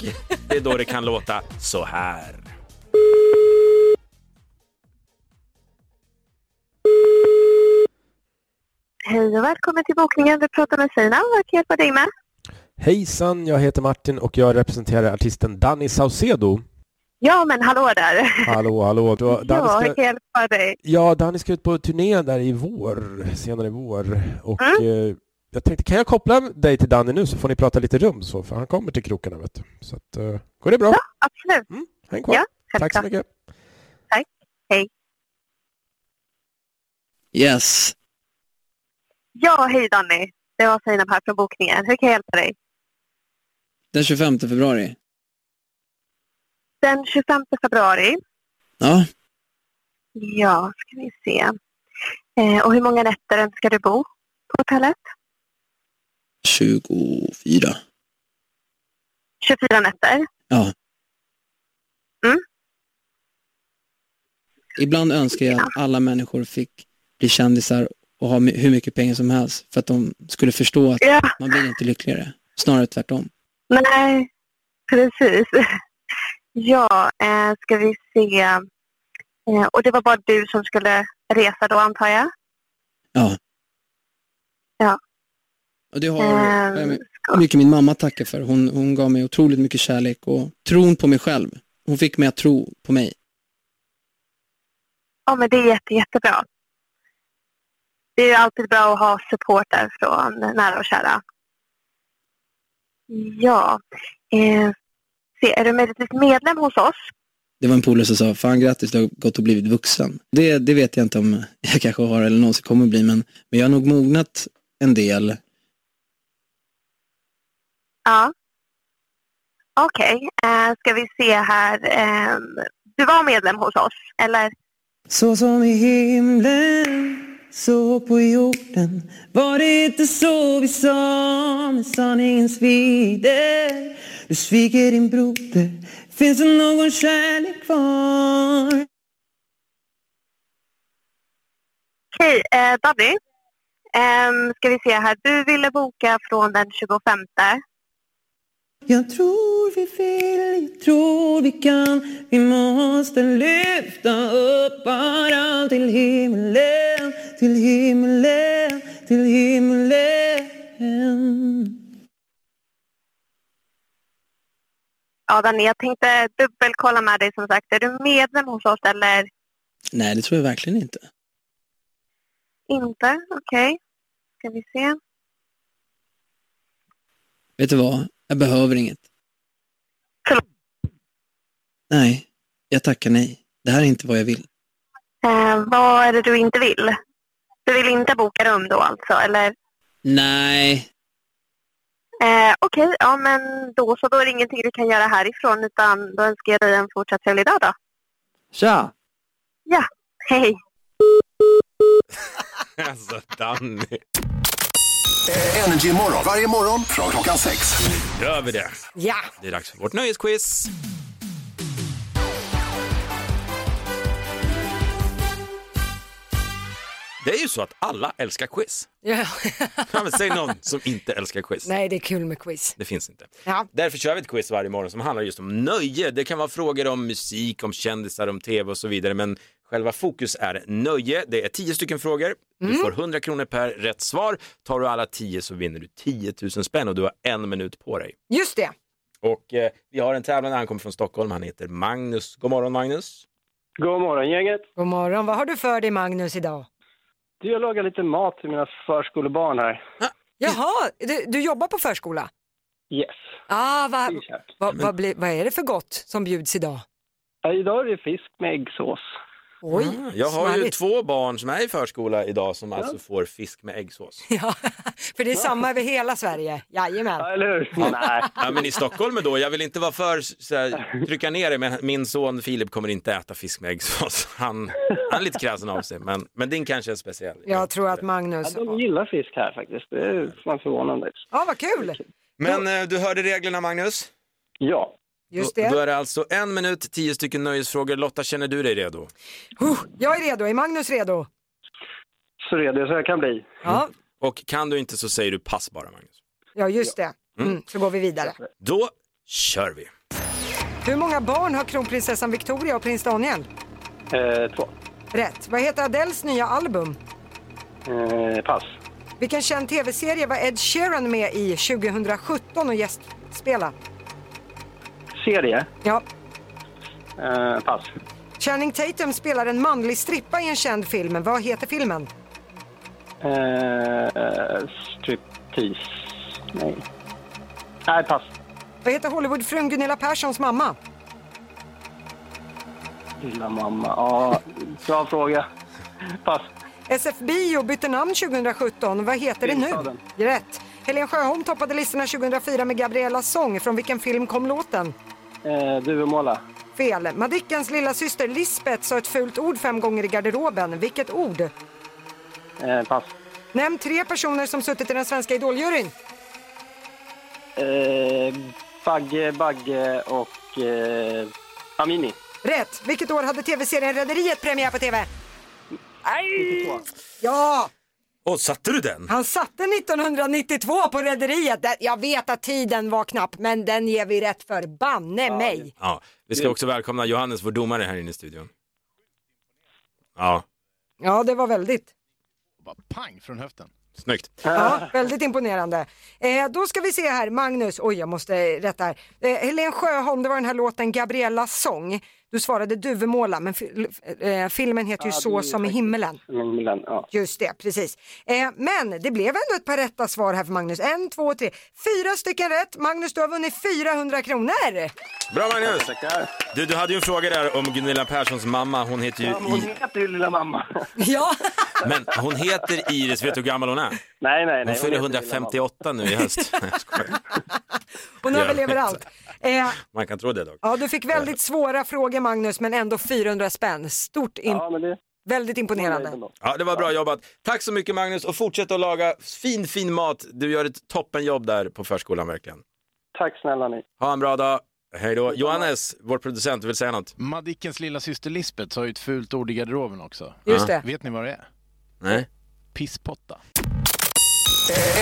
det är då det kan låta så här.
Hej och välkommen till bokningen. Du pratar med Sina. Vad kan jag hjälpa dig med?
Hejsan, jag heter Martin och jag representerar artisten Danny Saucedo.
Ja, men hallå där.
Hallå, hallå. Du, har- Danny
Ja,
ska...
jag kan hjälpa dig.
Ja, Danny ska ut på turné där i vår, senare i vår. Och eh, jag tänkte, kan jag koppla dig till Danny nu så får ni prata lite rum så, för han kommer till krokarna vet du. Så att, eh, går det bra? Ja,
absolut.
Mm, Häng kvar.
Ja,
Tack så mycket.
Tack. Hej.
Yes.
Ja, hej Danny. Det var Sina här från bokningen. Hur kan jag hjälpa dig?
Den 25 februari.
Den 25 februari.
Ja.
Ja, ska vi se. Eh, och hur många nätter önskar du bo på hotellet?
24.
24 nätter.
Ja.
Mm.
Ibland önskar jag att alla människor fick bli kändisar och ha my- hur mycket pengar som helst för att de skulle förstå att
Ja.
man blir inte lyckligare. Snarare tvärtom.
Nej, precis. Ja, eh, ska vi se. Eh, och det var bara du som skulle resa då antar jag?
Ja.
Ja.
Och det har
Ehm,
jag med- mycket min mamma tacka för. Hon, hon gav mig otroligt mycket kärlek och tron på mig själv. Hon fick mig att tro på mig.
Ja, men det är jätte, jättebra. Det är ju alltid bra att ha support där från nära och kära. Ja. Eh, se, är du möjligtvis medlem hos oss?
Det var en polare som sa, fan grattis du har gått och blivit vuxen. Det, det vet jag inte om jag kanske har eller någonsin kommer bli, men, men jag har nog mognat en del.
Ja. Okej, eh, ska vi se här. Eh, du var medlem hos oss, eller?
Så som i himlen, så på jorden Var det inte så vi sa med sanningens vider Du sviker din broder, finns det någon kärlek kvar?
Okej, eh, Danny. Ehm, ska vi se här. Du ville boka från den 25.
Jag tror vi vill, jag tror vi kan Vi måste lyfta upp varann till himlen Till himlen, till himlen
Ja, Danny, jag tänkte dubbelkolla med dig som sagt. Är du medlem hos oss eller
Nej, det tror jag verkligen inte.
inte? Okej. Ska vi se.
Vet du vad? Jag behöver inget. Nej, jag tackar nej. Det här är inte vad jag vill.
Eh, vad är det du inte vill? Du vill inte boka rum då alltså, eller?
Nej,
Eh, Okej, ja men då så. Då är det ingenting du kan göra härifrån utan då önskar jag dig en fortsatt trevlig dag då.
Tja!
Ja, hej.
Alltså Danny.
Energy morgon. Varje morgon från klockan sex.
Nu gör vi det.
Ja.
Det är dags för vårt nöjesquiz. Det är ju så att alla älskar quiz.
Ja.
Ja, men Säg någon som inte älskar quiz.
Nej, det är kul med quiz.
Det finns inte.
Ja.
Därför kör vi ett quiz varje morgon som handlar just om nöje. Det kan vara frågor om musik, om kändisar, om tv och så vidare. Men själva fokus är nöje. Det är tio stycken frågor. Du får 100 kronor per rätt svar. Tar du alla tio så vinner du 10 000 spänn och du har en minut på dig.
Just det.
Och eh, vi har en tävlande, han kommer från Stockholm, han heter Magnus. God morgon Magnus!
God morgon gänget!
God morgon. Vad har du för dig Magnus idag?
Du, jag lagar lite mat till mina förskolebarn här.
Jaha, du, du jobbar på förskola?
Yes.
Ah, vad, vad, vad, blir- vad är det för gott som bjuds idag?
Ja, Idag är det fisk med äggsås.
Oj,
Ah, Jag har ju
Ah, smarrigt.
två barn som är i förskola idag som
Ja.
alltså får fisk med äggsås.
För det är samma över hela Sverige. Jajamän.
Ja, eller hur?
Ja, men i Stockholm då, jag vill inte vara för så här, trycka ner det, men min son Filip kommer inte äta fisk med äggsås. Han, han är lite kräsen av sig, men, men din kanske är speciell.
Jag tror att Magnus...
Ja, de gillar fisk här faktiskt. Det är fan förvånande.
Ja, vad kul!
Men eh, du hörde reglerna Magnus?
Ja.
Just
Då,
det.
då är det alltså en minut, tio stycken nöjesfrågor. Lotta, känner du dig redo?
Huh, jag är redo. Är Magnus redo?
Så redo så jag kan bli.
Mm.
Ja.
Och kan du inte så säger du pass bara Magnus.
Ja, just det.
Mm.
Mm, så går vi vidare.
Då kör vi.
Hur många barn har kronprinsessan Victoria och prins Daniel?
Eh, två.
Rätt. Vad heter Adels nya album?
Eh, pass.
Vilken känd tv-serie var Ed Sheeran med i 2017 och gästspela?
Serie.
Ja.
Eh, pass.
Channing Tatum spelar en manlig strippa i en känd film. Vad heter filmen?
Eh, striptease. Nej. Nej, pass.
Vad heter Hollywoodfrun Gunilla Perssons mamma?
Lilla mamma. Ja, bra fråga. Pass.
SF Bio bytte namn 2017. Vad heter det nu?
Filmstaden.
Rätt. Helen Sjöholm toppade listorna 2004 med Gabriellas sång. Från vilken film kom låten?
Eh, Duvemåla.
Fel. Madickens lilla syster Lisbeth sa ett fult ord fem gånger i garderoben. Vilket ord?
Eh, pass.
Nämn tre personer som suttit i den svenska idoljuryn.
Eh, bagge, Bagge och eh, Amini.
Rätt. Vilket år hade tv-serien Rederiet premiär på tv? Aj! Ja,
Och satte du den?
han satte 1992 på Rederiet. Där- Jag vet att tiden var knapp, men den ger vi rätt för. Banne mig!
Ja, vi ska också välkomna Johannes, vår domare här inne i studion. Ja,
Ja, det var väldigt.
Pang från höften.
snyggt.
Ah.
Ja, väldigt imponerande. Eh, då ska vi se här, Magnus. Oj, jag måste rätta här. Eh, Helen Sjöholm, det var den här låten Gabriellas sång. Du svarade Duvemåla, men fi- eh, filmen heter ju
Ja, det
Så
är
som i himmelen.
Milan, ja.
Just det, precis. Eh, men det blev ändå ett par rätta svar här för Magnus. En, två, tre, fyra stycken rätt. Magnus, du har vunnit 400 kronor.
Bra Magnus! Du, du hade ju en fråga där om Gunilla Perssons mamma. Hon heter ju
Ja, men hon
I...
heter ju Lilla mamma.
Ja.
Men hon heter Iris, vet du hur gammal hon är?
Nej, nej, nej.
Hon fyller
heter Lilla mamma.
158 nu i höst. Nej, jag skojar.
Hon
Ja.
överlever allt. Eh,
Man kan tro det dock.
ja, du fick väldigt svåra frågor Magnus, men ändå 400 spänn. Stort in... Väldigt imponerande.
Ja, det var bra jobbat. Tack så mycket Magnus och fortsätt att laga fin, fin mat. Du gör ett toppenjobb där på förskolan verkligen.
Tack snälla ni.
Ha en bra dag. Hej då. Johannes, vår producent, vill säga något?
Madickens lilla syster Lisbeth sa ju ett fult ord i garderoben också.
Just det.
Vet ni vad det är?
Nej.
Pisspotta.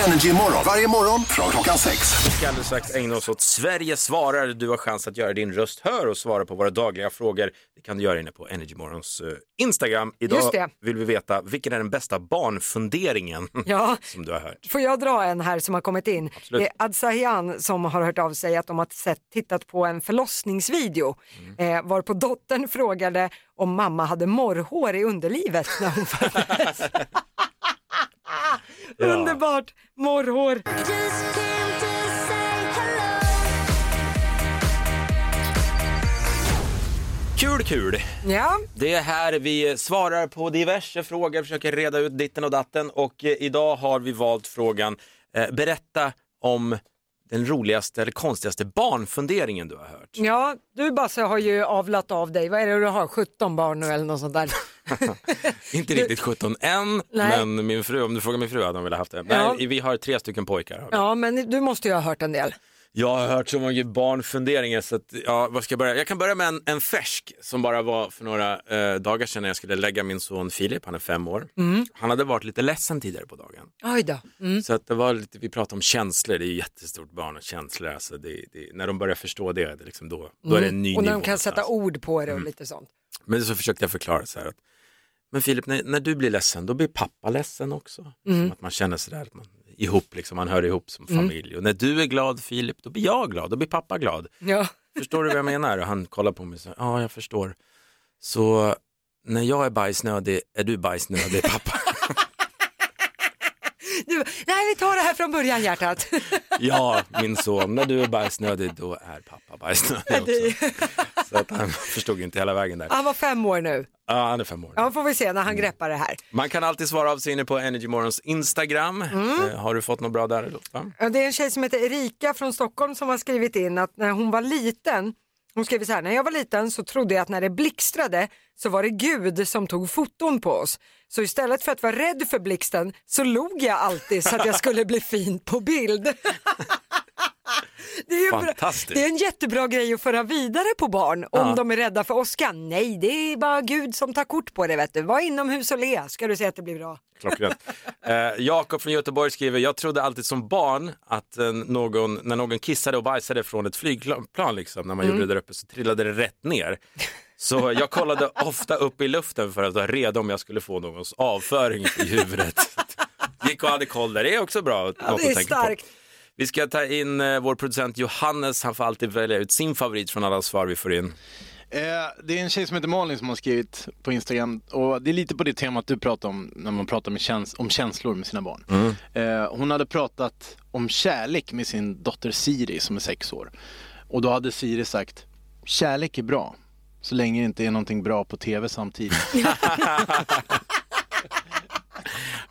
Energy morgon. Varje morgon från klockan sex.
Vi ska alldeles strax ägna oss åt Sverige svarar. Du har chans att göra din röst hör och svara på våra dagliga frågor. Det kan du göra inne på Energymorgons eh, Instagram.
Just
Idag
det.
vill vi veta vilken är den bästa barnfunderingen
Ja.
som du har hört.
Får jag dra en här som har kommit in?
Absolut.
Det är Adsahian som har hört av sig att de har sett, tittat på en förlossningsvideo
Mm.
eh, varpå dottern frågade om mamma hade morrhår i underlivet när hon föddes. Underbart! Morrhår.
Kul, kul.
Ja,
Det är här vi svarar på diverse frågor, försöker reda ut ditten och datten och eh, idag har vi valt frågan eh, berätta om den roligaste eller konstigaste barnfunderingen du har hört.
ja, du Basse har ju avlat av dig. Vad är det du har? 17 barn nu eller något sånt där.
Inte riktigt 17 än,
Nej.
men min fru, om du frågar min fru hade hon velat haft det.
Ja.
Nej, vi har tre stycken pojkar. har vi.
Ja, men du måste ju ha hört en del.
Jag har hört så många barnfunderingar så att, ja, vad ska jag börja? Jag kan börja med en, en färsk som bara var för några eh, dagar sedan när jag skulle lägga min son Filip, han är fem år.
Mm.
Han hade varit lite ledsen tidigare på dagen.
Oj då. Mm.
Så att det var lite, vi pratade om känslor, det är ju jättestort barn och känslor. Alltså det, det, när de börjar förstå det, det är liksom då, då är det en ny
Mm. och när
nivå. alltså. Mm.
de kan sätta ord på det och lite sånt.
Men så försökte jag förklara så här att, men Filip, när, när du blir ledsen, då blir pappa ledsen också. Liksom
Mm.
Att man känner sådär, att man, ihop liksom, man hör ihop som
Mm.
familj. Och när du är glad Filip, då blir jag glad, då blir pappa glad.
Ja.
Förstår du vad jag menar? Och han kollar på mig så här, ja jag förstår. Så när jag är bajsnödig, är du bajsnödig pappa?
Du, nej, vi tar det här från början hjärtat.
Ja, min son, när du är bajsnödig då är pappa bajsnödig också. Så att han förstod inte hela vägen där.
Han var fem år nu.
Ja, han är fem år.
Ja, får vi se när
Mm.
han greppar det här.
Man kan alltid svara av sig inne på Energy Morgons Instagram.
Mm.
Eh, Har du fått något bra där Lotta?
Ja, Det är en tjej som heter Erika från Stockholm som har skrivit in att när hon var liten, hon skriver så här, när jag var liten så trodde jag att när det blixtrade så var det Gud som tog foton på oss. Så istället för att vara rädd för blixten så log jag alltid så att jag skulle bli fin på bild. Det är, ju bra,
Fantastiskt.
det är en jättebra grej att föra vidare på barn om
Ja.
de är rädda för åska. Nej, det är bara Gud som tar kort på det. Vet du. Var inomhus och le ska du se att det blir bra.
Klockrent. Eh, Jakob från Göteborg skriver, jag trodde alltid som barn att eh, någon, när någon kissade och bajsade från ett flygplan, liksom, när man
Mm.
gjorde det där uppe, så trillade det rätt ner. Så jag kollade ofta upp i luften för att vara redo om jag skulle få någons avföring i huvudet. Gick och hade koll där, det är också bra.
Ja,
något
det
att
är
tänka på.
starkt.
Vi ska ta in eh, vår producent Johannes, han får alltid välja ut sin favorit från alla svar vi får in.
Eh, det är en tjej som heter Malin som har skrivit på Instagram och det är lite på det temat du pratar om när man pratar med käns- om känslor med sina barn. Eh, hon hade pratat om kärlek med sin dotter Siri som är sex år. Och då hade Siri sagt, kärlek är bra, så länge det inte är någonting bra på tv samtidigt.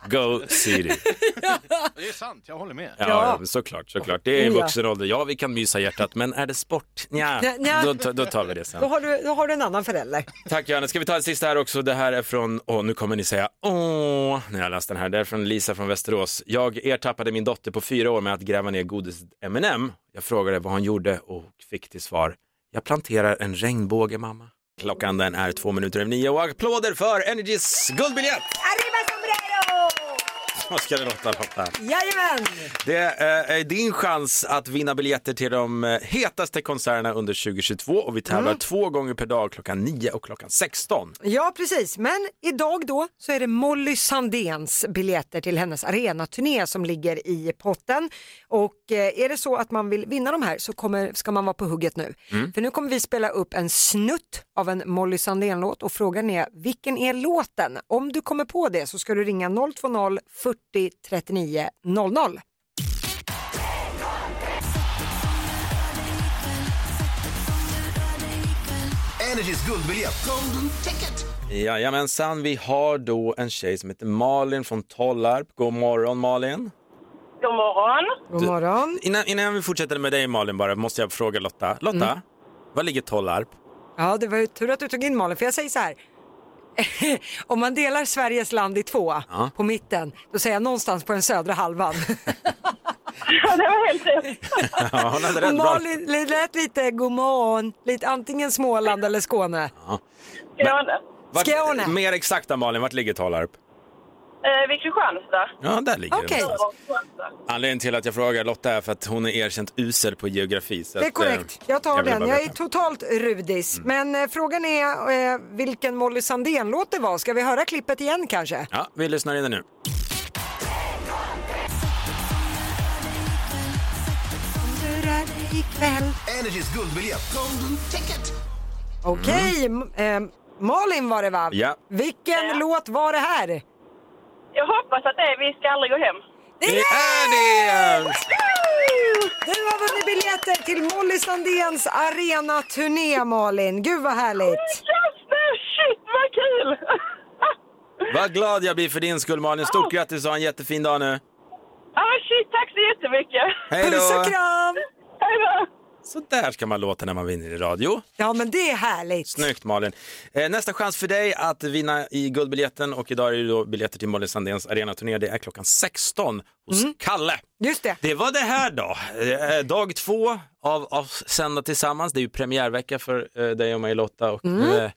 Go City.
det är sant, jag håller med.
Ja, ja, såklart, såklart. Det är i vuxen ålder. Ja, vi kan mysa hjärtat, men är det sport? Nja,
Nja, nja.
Då, ta- då tar vi det sen.
Då har, du, då har du en annan förälder.
Tack Johannes. Ska vi ta en sista här också? Det här är från, åh nu kommer ni säga åh när jag läst den här. Det är från Lisa från Västerås. Jag ertappade min dotter på fyra år med att gräva ner godis M&M. Jag frågade vad hon gjorde och fick till svar, jag planterar en regnbåge mamma. Klockan den är två minuter över nio och applåder för Energys guldbiljett!
Arriba sombrero!
Vad ska det låta Lotta?
Jajamän!
Det eh, är din chans att vinna biljetter till de eh, hetaste konserterna under 2022 och vi tävlar
Mm.
två gånger per dag klockan 9 och klockan 16.
Ja, precis. Men idag då så är det Molly Sandéns biljetter till hennes arenaturné som ligger i potten. Och eh, är det så att man vill vinna de här så kommer, ska man vara på hugget nu.
Mm.
För nu kommer vi spela upp en snutt av en Molly Sandén-låt och frågan är vilken är låten? Om du kommer på det så ska du ringa 020 40 39 00.
Energys guldbiljett. Golden ticket.
Jajamensan, vi har då en tjej som heter Malin från Tollarp. God morgon Malin!
God morgon.
God morgon!
innan, innan vi fortsätter med dig Malin bara måste jag fråga Lotta. Lotta,
Mm.
var ligger Tollarp?
Ja, det var ju tur att du tog in Malin, för jag säger så här. Om man delar Sveriges land i två
Ja.
på mitten, då säger jag någonstans på den södra halvan.
det var helt rätt.
Ja, hon hade rätt bra.
Malin det lät lite god morgon, lite antingen Småland eller Skåne.
Ja.
Skåne.
Vart,
Skåne.
Mer exakta Malin, vart ligger Tollarp?
Eh, vid Kristianstad.
Ja, där ligger det
Okej.
någonstans. Anledningen till att jag frågar Lotta är för att hon är erkänt usel på geografi. Så
Det är
att, eh,
korrekt, jag tar
ville
den.
bara
Jag är
veta. Mm.
totalt rudis. Men eh, frågan är eh, vilken Molly Sandén-låt det var. Ska vi höra klippet igen kanske?
Ja, vi lyssnar in det nu.
Energys guldbiljett. Golden ticket.
Okej, m- eh, Malin var det va?
Mm. Ja.
Vilken låt var det här?
Jag hoppas att det är Vi ska aldrig gå hem.
Det är det!
Du har vunnit biljetter till Molly Sandéns arenaturné Malin. Gud vad härligt.
Shit vad kul!
Vad glad jag blir för din skull Malin. Stort grattis och ha en jättefin dag nu.
Ah, shit, tack så jättemycket.
Hej då. Puss och
kram.
Hej då.
Så där ska man låta när man vinner i radio.
Ja men det är härligt.
Snyggt Malin. Eh, nästa chans för dig att vinna i guldbiljetten och idag är det då biljetter till Molly Sandéns arenaturné. Det är klockan 16 hos Kalle.
Just det.
Det var det här då. Eh, dag två av oss sända tillsammans. Det är ju premiärvecka för eh, dig och mig Lotta och
Mm.
eh,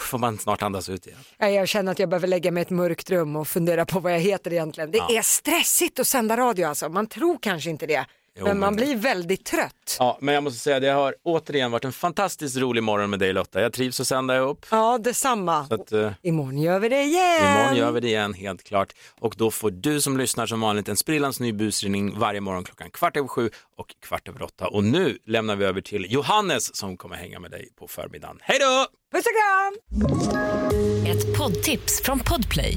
får man snart andas ut igen.
Nej, Jag känner att jag behöver lägga mig i ett mörkt rum och fundera på vad jag heter egentligen. Det
Ja.
är stressigt att sända radio alltså. Man tror kanske inte det.
Jo,
men man
men-
blir väldigt trött.
Ja, men jag måste säga det har återigen varit en fantastiskt rolig morgon med dig Lotta. Jag trivs att sända ihop.
Ja, detsamma.
Så att, eh,
Imorgon gör vi det igen.
Imorgon gör vi det igen, helt klart. Och då får du som lyssnar som vanligt en sprillans ny busringning varje morgon klockan kvart över sju och kvart över åtta. Och nu lämnar vi över till Johannes som kommer hänga med dig på förmiddagen. Hej då!
Puss och kram!
Ett poddtips från Podplay.